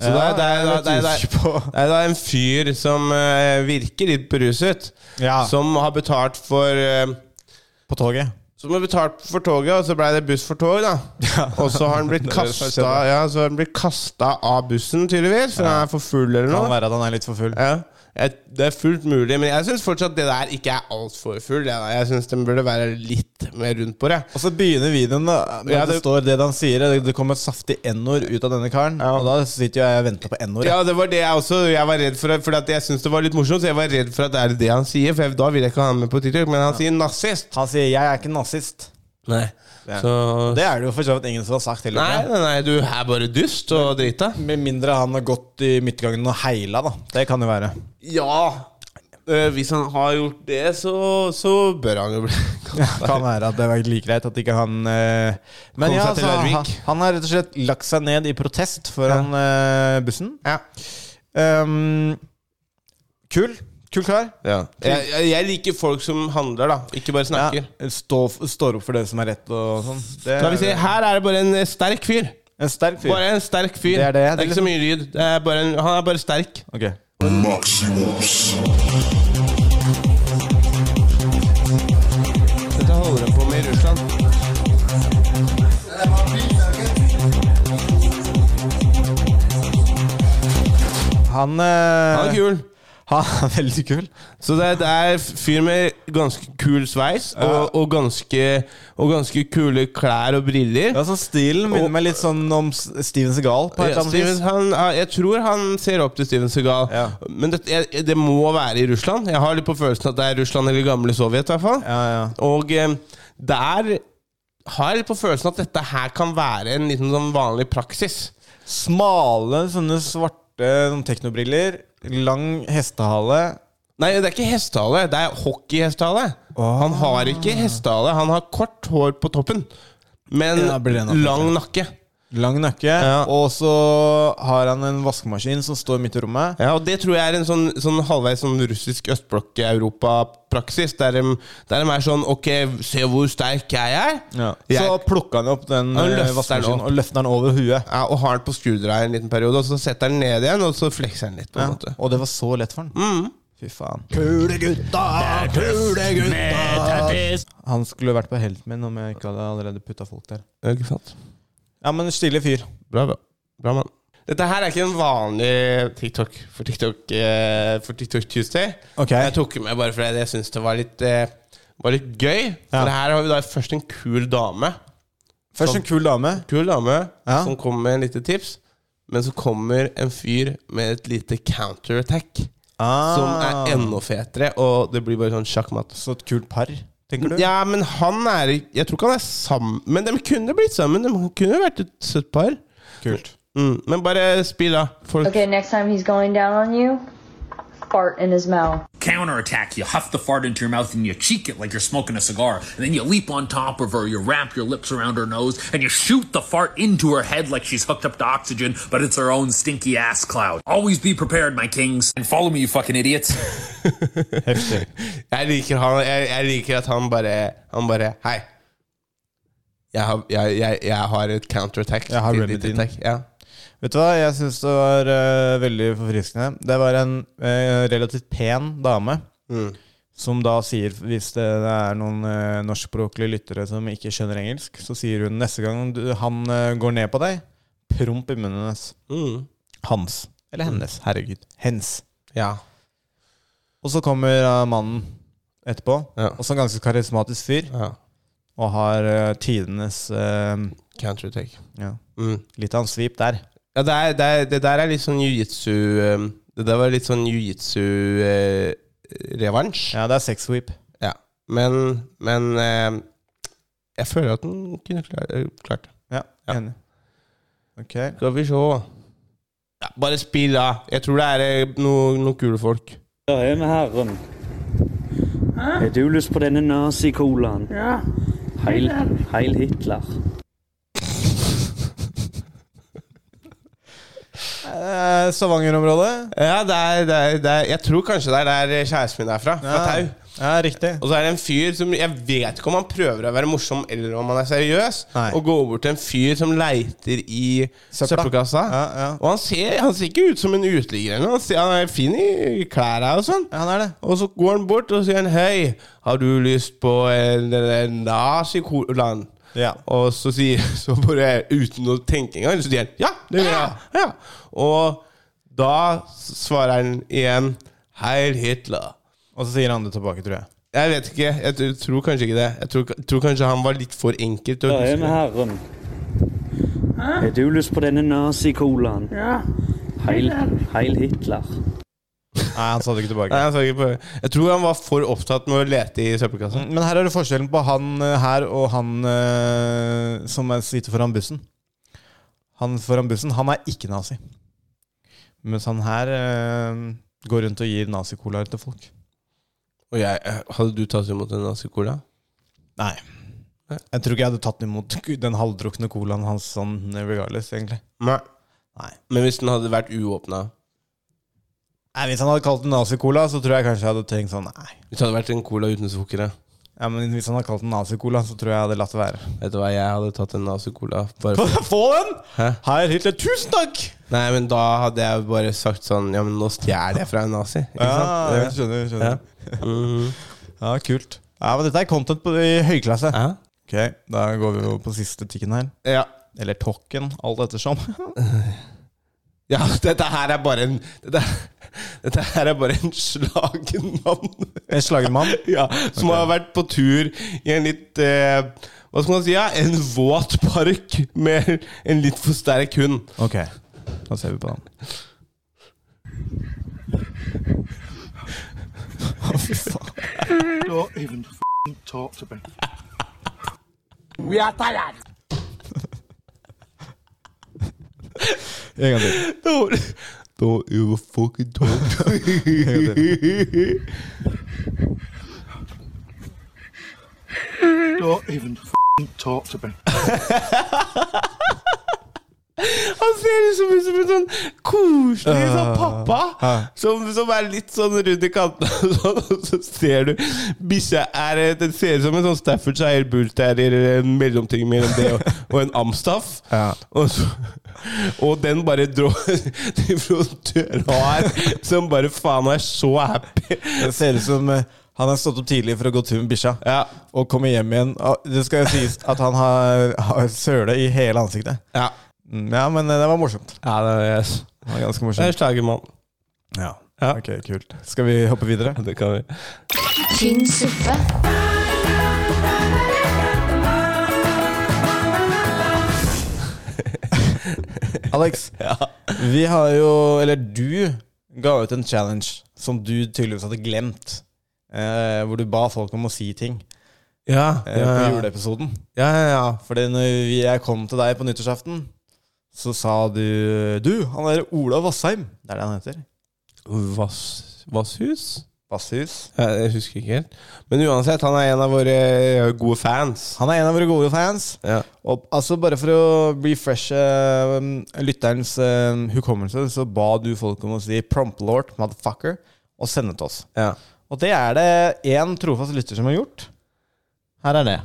B: Så det, er, det, er, det, er, det, er, det, er,
C: på.
B: det er da en fyr som eh, virker litt beruset.
C: Ja.
B: Som har betalt for eh,
C: På toget.
B: Så må du betalt for toget, og så blei det buss for tog, da. Og så har han blitt
C: Det er det som
B: kasta
C: skjedde.
B: ja, så har han blitt kastet av bussen, tydeligvis. For han er for full eller
C: Kan
B: noe.
C: være at han er litt for full.
B: Ja. Jeg, det er fullt mulig, men jeg syns fortsatt det der ikke er altfor full. Jeg, jeg syns den burde være litt mer rundt på det.
C: Og så begynner videoen, da. Når
B: Ja,
C: det,
B: det-
C: står det han sier. Det, det kommer et saftig n-ord ut av denne karen. Og da sitter jo jeg og venter på n-ordet.
B: Ja, det var det jeg også Jeg var redd for Fordi at jeg syntes det var litt morsomt, så jeg var redd for at det er det han sier. For jeg, da vil jeg ikke ha han med på TikTok, men han sier nazist.
C: Han sier 'jeg er ikke nazist'.
B: Nei. Så
C: Det er det jo for så vidt ingen som har sagt heller.
B: Nei,
C: tror jeg.
B: nei, nei, du er bare dust og drita.
C: Med mindre han har gått i midtgangen og heila, da. Det kan jo være.
B: Ja. Eh, hvis han har gjort det, så, så bør han jo bli
C: Kan være at det var like greit at ikke han eh, Men
B: Kom
C: ja,
B: seg til
C: altså, han,
B: Larvik.
C: han har rett og slett lagt seg ned i protest foran eh, bussen.
B: Ja.
C: Um, kul. Kul kar.
B: Jeg, jeg, jeg liker folk som handler, da. Ikke bare
C: Ja,
B: snakker.
C: stå, står opp for det som er rett og sånn. Det
B: Da vil si, her er det bare en eh, sterk fyr.
C: en sterk fyr.
B: Bare en sterk fyr.
C: Det er det, det er
B: ikke så
C: liksom-
B: mye lyd. Det er bare en, han er bare sterk.
C: Ok.
F: Maximus.
B: Dette holder de på med i Russland.
C: Han, eh,
B: Han er kul.
C: Han er veldig kul.
B: Så det er, det er fyr med ganske kul sveis og, og, ganske, og ganske kule klær og briller.
C: Ja, så altså Stilen minner meg litt sånn om S- Steven Segal. På et
B: Ja,
C: eller annet
B: Steven,
C: vis.
B: han, ja, jeg tror han ser opp til Steven Segal.
C: Ja.
B: Men det, jeg, det må være i Russland. Jeg har litt på følelsen at det er Russland eller gamle Sovjet. I hvert fall.
C: Ja, ja.
B: Og eh, der har jeg litt på følelsen at dette her kan være en liten sånn vanlig praksis.
C: Smale, sånne svarte sånn teknobriller. Lang hestehale.
B: Nei, det er ikke hestehale. Det er hockeyhestehale. Han har ikke hestehale. Han har kort hår på toppen, men
C: Ja, blir det nok.
B: lang nakke.
C: Lang nøkke.
B: Ja.
C: Og så har han en vaskemaskin som står midt i rommet.
B: Ja, og Det tror jeg er en sånn, sånn halvveis sånn russisk østblokk-Europa-praksis. Der, de- der de er sånn Ok, se hvor sterk jeg er. Jeg,
C: Så plukka han opp den
B: Han løfter
C: eh,
B: den
C: vaskemaskinen
B: opp.
C: og løfter den over huet.
B: ja, og har den på skrudreier en liten periode, og så setter han den ned igjen, og så flekser han litt. på en måte Mm.
C: Og det var så lett for han. Fy faen. Han skulle vært på helten min om jeg ikke hadde allerede putta folk der.
B: Ja, Ikke sant?
C: Ja, men stille fyr.
B: Bra, bra. Bra, mann. Dette her er ikke en vanlig TikTok for TikTok, eh, for TikTok Tuesday.
C: Ok.
B: Jeg tok med bare fordi jeg syntes det var litt, eh, var litt gøy.
C: Ja.
B: For her har vi da først en kul dame.
C: Først en kul dame.
B: Kul dame
C: Ja.
B: som kommer med en lite tips. Men så kommer en fyr med et lite counterattack
C: Ah.
B: som er enda fetere, og det blir bare sånn sjakkmatt.
C: Så et kult par, tenker du?
B: Ja, men han er Jeg tror ikke han er sammen Men de kunne blitt sammen. De kunne vært et søtt par.
C: Kult.
B: Mm, men bare spill, da. Folk
A: Okay, next time he's going down on you, fart in his mouth.
K: counterattack. You huff the fart into your mouth and you cheek it like you're smoking a cigar. And then you leap on top of her, you wrap your lips around her nose, and you shoot the fart into her head like she's hooked up to oxygen, but it's her own stinky ass cloud. Always be prepared, my kings. And follow me, you fucking idiots.
C: Heftig.
B: Jeg liker, han, jeg, jeg liker at han bare Han bare Hei. Jeg har, jeg, jeg, jeg har et counterattack.
C: Jeg har
B: til ditt
C: remedyen.
B: attack. Ja.
C: Vet du hva, jeg syns det var eh, veldig forfriskende. Det var en eh, relativt pen dame.
B: Mm.
C: Som da sier, hvis det er noen uh, norskspråklige lyttere som ikke skjønner engelsk, så sier hun neste gang du, han eh, går ned på deg, promp i munnen hennes.
B: Mm.
C: Hans. Eller hennes. Herregud. Hens.
B: ja.
C: Og så kommer eh, mannen etterpå,
B: Ja.
C: også en ganske karismatisk fyr,
B: ja.
C: og har eh, tidenes eh,
B: Counterattack.
C: ja,
B: Mm.
C: Litt av en svip der.
B: Ja, det, er, det, er, det der er litt sånn jiu-jitsu um, Det der var litt sånn eh, jiu-jitsu-revansj.
C: Ja, det er sex sweep.
B: ja. Men, men eh, Jeg føler at den kunne klart, klart det.
C: Ja,
B: Ja.
C: enig. Ok.
B: Skal vi se ja, Bare spill, da. Jeg tror det er eh, noe- noen kule folk.
L: Hei med herren. Har du lyst på denne nazi-colaen? Ja. Heil, heil Hitler.
C: Eh, Stavanger-området.
B: Ja, det er, det er, det er, jeg tror kanskje det er der kjæresten min er fra. Fra
C: Ja.
B: Tau.
C: Ja, riktig
B: Og så er det en fyr som Jeg vet ikke om han prøver å være morsom eller om han er seriøs. Og går bort til en fyr som leiter i søppelkassa. Og han ser, han ser ikke ut som en uteligger. eller noe. Han, ser- han er fin i klærne og sånn. Og så går han bort og sier han, 'Hei, har du lyst på en, en nazi-kolan?' Og så sier Så bare uten å tenke engang, så sier han 'Ja, det vil jeg'. Ja. Og da svarer han igjen 'Heil Hitler'.
C: Og så sier han det tilbake, tror jeg.
B: Jeg vet ikke. Jeg t- tror kanskje ikke det. Jeg tror, jeg tror kanskje han var litt for enkel til å
L: Börja er med
B: huske.
L: herren. Har du lyst på denne nazikolan?
G: Ja.
L: Heil, heil Hitler.
C: Nei, han sa det ikke tilbake.
B: Nei, jeg, sa ikke på. jeg tror han var for opptatt med å lete i søppelkassa.
C: Men her er det forskjellen på han eh, her og han eh, som er- sitter foran bussen. Han foran bussen, han er ikke nazi. Mens han her eh, går rundt og gir nazicolaer til folk.
B: Og jeg, eh, hadde du tatt imot en nazi-cola?
C: Nei. Jeg tror ikke jeg hadde tatt imot den halvdrukne colaen hans sånn regardless, egentlig.
B: Nei. Men hvis den hadde vært uåpna?
C: Nei, Hvis han hadde kalt den nazicola, så tror jeg kanskje jeg hadde tenkt sånn nei.
B: Hvis det hadde vært en cola uten eh, sukkeret?
C: Ja, men Hvis han hadde kalt den nazicola, så tror jeg jeg hadde latt det være.
B: Vet du hva, jeg hadde tatt en nazi-cola. bare for-
C: Få den!
B: Hæ?
C: Her, Hitler, tusen takk!
B: Nei, men da hadde jeg bare sagt sånn Ja, men nå stjeler jeg fra en nazi. Ikke
C: Ja,
B: sant?
C: jeg skjønner. skjønner.
B: Ja. Mhm.
C: Ja, kult. Ja, men Dette er content på, i høyklasse. Ok, Da går vi over på siste tikken her.
B: Ja.
C: Eller tokken, alt ettersom.
B: Ja, dette her er bare en Dette, dette her er bare en slagen mann.
C: En slagen mann?
B: ja, Som har vært på tur i en litt eh, Hva skal man si? Ja? En våt park med en litt for sterk hund.
C: ok, da ser vi på den.
M: Not even f***ing talked about.
D: We are tired.
C: En gang til.
B: Don't, don't ever fucking talk to me.
M: Not even f***ing talked about.
B: Han ser liksom ut som en sånn koselig sånn pappa
C: Ja.
B: som, som er litt sånn rundt i kantene, og sånn, og så ser du bikkja er eh, Den ser ut som en sånn Staffordshire Bull Terrier, eller en mellomting mellom det og, og en Amstaff. Og, så, og den bare dro De drar som bare faen er så happy.
C: Det ser ut som eh, han har stått opp tidlig for å gå tur med bikkja, og kommer hjem igjen. Og Det skal jo sies at han har, har søle i hele ansiktet.
B: Ja.
C: Mm, ja, men eh, det var morsomt.
B: Ja, det er,
C: Det var
B: det
C: ganske
B: er
C: morsomt.
B: slagermann.
C: Ja. Ok, kult. Skal vi hoppe videre?
B: Det kan vi.
E: Tynn suppe.
C: Alex, vi har jo, eller du, ga ut en challenge som du tydeligvis hadde glemt. Eh, hvor du ba folk om å si ting
B: Ja,
C: eh,
B: ja,
C: på
B: ja.
C: juleepisoden.
B: Ja, ja, ja.
C: Fordi når vi- jeg kom til deg på nyttårsaften, så sa du Du, han derre Ola Vassheim. Det er det han heter.
B: Vass, vasshus?
C: Vasshus.
B: Ja, Jeg husker ikke helt. Men uansett, han er en av våre gode fans.
C: Han er en av våre gode fans.
B: Ja.
C: Og, altså Bare for å refreshe eh, lytterens eh, hukommelse, så ba du folk om å si 'promplord, motherfucker', og sende til oss.
B: Ja.
C: Og det er det én trofast lytter som har gjort. Her er det.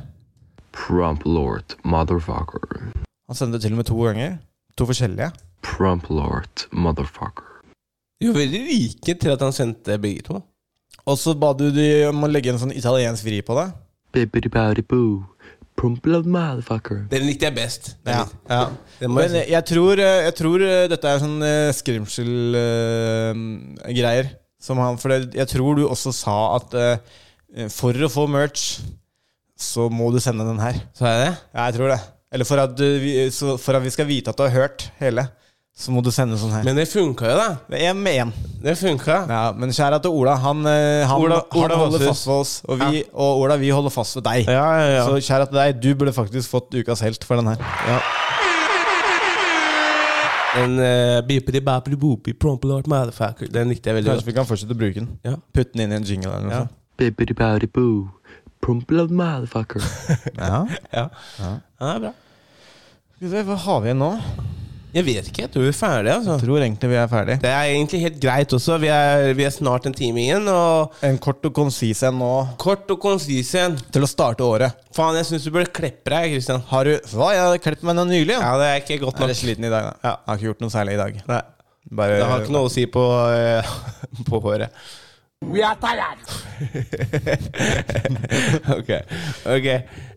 N: Prompt Lord, motherfucker.
C: Han sendte det til og med to ganger. To forskjellige.
N: Prompt Lord, motherfucker.
B: Jo, veldig like til at han sendte begge to.
C: Og så ba du de om å legge en sånn italiensk vri på det.
N: Bibbidi-bobbidi-boo. Prompt Lord, motherfucker.
B: Den likte jeg best. Den
C: Ja,
B: likte-
C: ja.
B: Det må jeg eh,
C: Men
B: si.
C: jeg tror, eh, jeg tror dette er sånn skrimsel-greier. Som han, for det- jeg tror du også sa at eh, for å få merch, så må du sende den her.
B: Sa jeg det?
C: Ja, jeg tror det. Eller for at, du- vi, så for at vi skal vite at du har hørt hele, så må du sende sånn her.
B: Men det funka jo, da.
C: Det er én med én.
B: Det funka.
C: Ja, men kjære til Ola. Han, eh, han,
B: Ola- Ola
C: han holder
B: Vasshus.
C: fast ved oss, og, vi, og Ola, vi holder fast ved deg.
B: ja, ja.
C: Så kjære til deg, du burde faktisk fått ukas helt for den her.
B: Den uh, bippidi-bappidi-boopy, promplord motherfucker. Den likte jeg veldig
C: Kanskje
B: godt.
C: vi kan fortsette å bruke den.
B: Ja.
C: Putte den inn i en jingle eller noe
B: Ja.
C: sånt.
N: Bibbidi-bobbidi-boo. Prompt Lord, motherfucker.
C: Ja.
B: Ja. ja, det er bra.
C: Skal vi se, Hva har vi igjen nå?
B: Jeg vet ikke. Jeg tror vi er ferdige. Altså. Jeg
C: tror egentlig vi er ferdige.
B: Det er egentlig helt greit også. Vi er, vi er snart en time igjen. Og
C: en kort og konsis en nå.
B: Kort og konsis en.
C: Til å starte året.
B: Faen, jeg syns du burde klippe deg, Christian.
C: Har du Hva, jeg har klippet meg nå nylig.
B: Ja, det er ikke godt
C: Jeg
B: nok.
C: er litt sliten i dag, da. Jeg har ikke gjort noe særlig i dag.
B: Nei.
C: Bare
B: Det har ikke noe å si på, eh, på håret.
D: We are tired.
B: ok. ok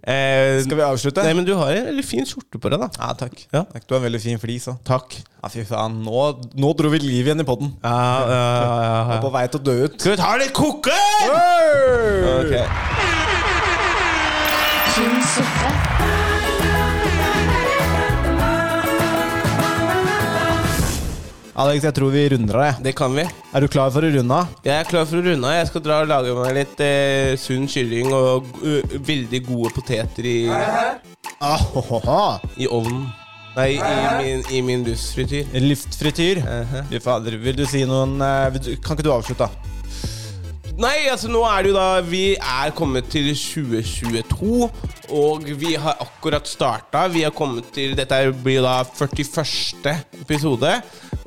B: Eh,
C: Skal vi avslutte?
B: Nei, men du har en veldig fin skjorte på deg, da.
C: Ja, takk.
B: Ja.
C: Takk, Du har en veldig fin flis òg.
B: Takk.
C: Ja, fy faen. Nå, nå dro vi liv igjen i podden.
B: Ja, ja, ja, ja,
C: På
B: ja.
C: vei til å dø ut.
B: Eh, Skal vi ta litt koker? Ok.
E: Kinsuppe.
C: Alex, jeg tror vi runder av. jeg.
B: Det kan vi.
C: Er du klar for å runde av?
B: Jeg er klar for å runde av. Jeg skal dra og lage meg litt eh, sunn kylling og eh, veldig gode poteter i,
C: Ah, ho, ho, ho.
B: i ovnen. Nei, i min, i min luftfrityr.
C: Luftfrityr.
B: Uh-huh.
C: Fy fader, vil du si noen eh, vil du, Kan ikke du avslutte, da?
B: Nei, altså nå er det jo da Vi er kommet til 2022, og vi har akkurat starta. Vi har kommet til Dette blir jo da 41. episode.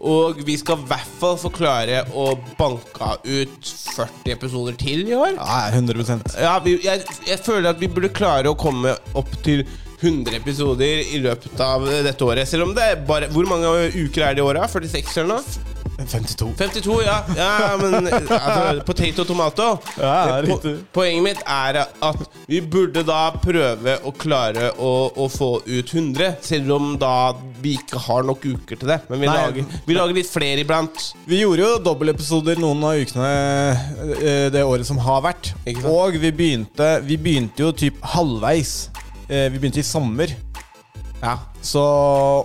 B: Og vi skal i hvert fall få klare å banke ut 40 episoder til i år.
C: Ja, 100
B: Ja, vi, jeg, jeg føler at vi burde klare å komme opp til 100 episoder i løpet av dette året. Selv om det er bare Hvor mange uker er det i året? 46 eller noe?
C: 52.
B: 52, ja. ja men altså, potato tomato.
C: Ja,
B: Det- po-
C: riktig.
B: Poenget mitt er at vi burde da prøve å klare å, å få ut 100, selv om da vi ikke har nok uker til det. Men vi,
C: Nei.
B: lager, vi lager litt flere iblant.
C: Vi gjorde jo dobbeltepisoder noen av ukene eh, det året som har vært.
B: Ikke sant?
C: Og vi begynte, vi begynte jo typ halvveis. Eh, Vi begynte i sommer.
B: Ja.
C: Så,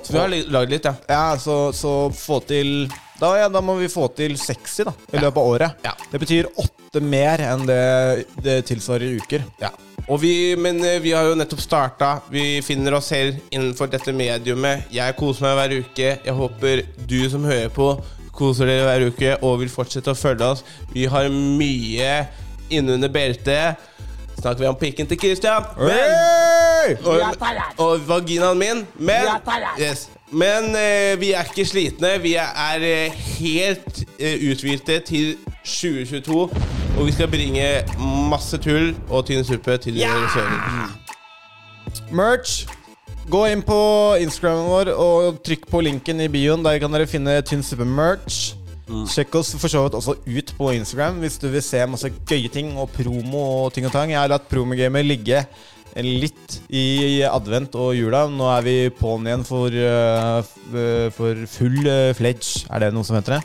B: Så vi har li- lagd litt, ja.
C: Ja, så, så få til da, ja, da må vi få til 60 da, i løpet av året.
B: Ja.
C: Det betyr åtte mer enn det, det tilsvarer i uker.
B: Ja. Og vi, men eh, vi har jo nettopp starta. Vi finner oss selv innenfor dette mediumet. Jeg koser meg hver uke. Jeg håper du som hører på, koser dere hver uke og vil fortsette å følge oss. Vi har mye innunder beltet. Snakker vi om pikken til Christian? Men,
C: Hey!
B: og, og vaginaen min? Men, yes. men eh, vi er ikke slitne. Vi er eh, helt eh, uthvilte til 2022. Og vi skal bringe masse tull og tynn suppe til dere søren.
C: Merch. Gå inn på Instagramen vår og trykk på linken i bioen. Der kan dere finne Tynn suppe merch. Sjekk oss for så vidt også ut på Instagram hvis du vil se masse gøye ting og promo og ting og tang. Jeg har latt promogamet ligge litt i advent og jula. Nå er vi på'n igjen for, eh, f- eh, for full uh, fledge. Er det noe som heter det?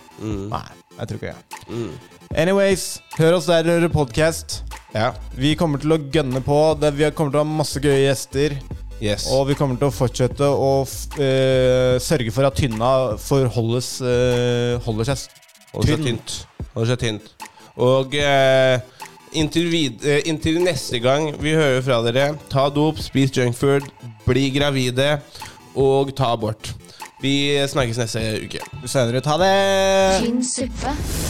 C: Nei, jeg tror ikke det. Anyways, hør oss der dere hører podkast.
B: Ja.
C: Vi kommer til å gønne på. Det- Vi kommer til å ha masse gøye gjester.
B: Yes.
C: Og vi kommer til å fortsette å f- eh, sørge for at tynna forholdes eh, holder seg s-
B: Holder seg
C: tynn.
B: tynt. Holder seg tynt. Og eh, inntil, vid eh, inntil neste gang vi hører fra dere, ta dop, spis junkfood, bli gravide og ta abort. Vi snakkes neste uke.
C: Senere. Ta det!
E: Kinsuppe.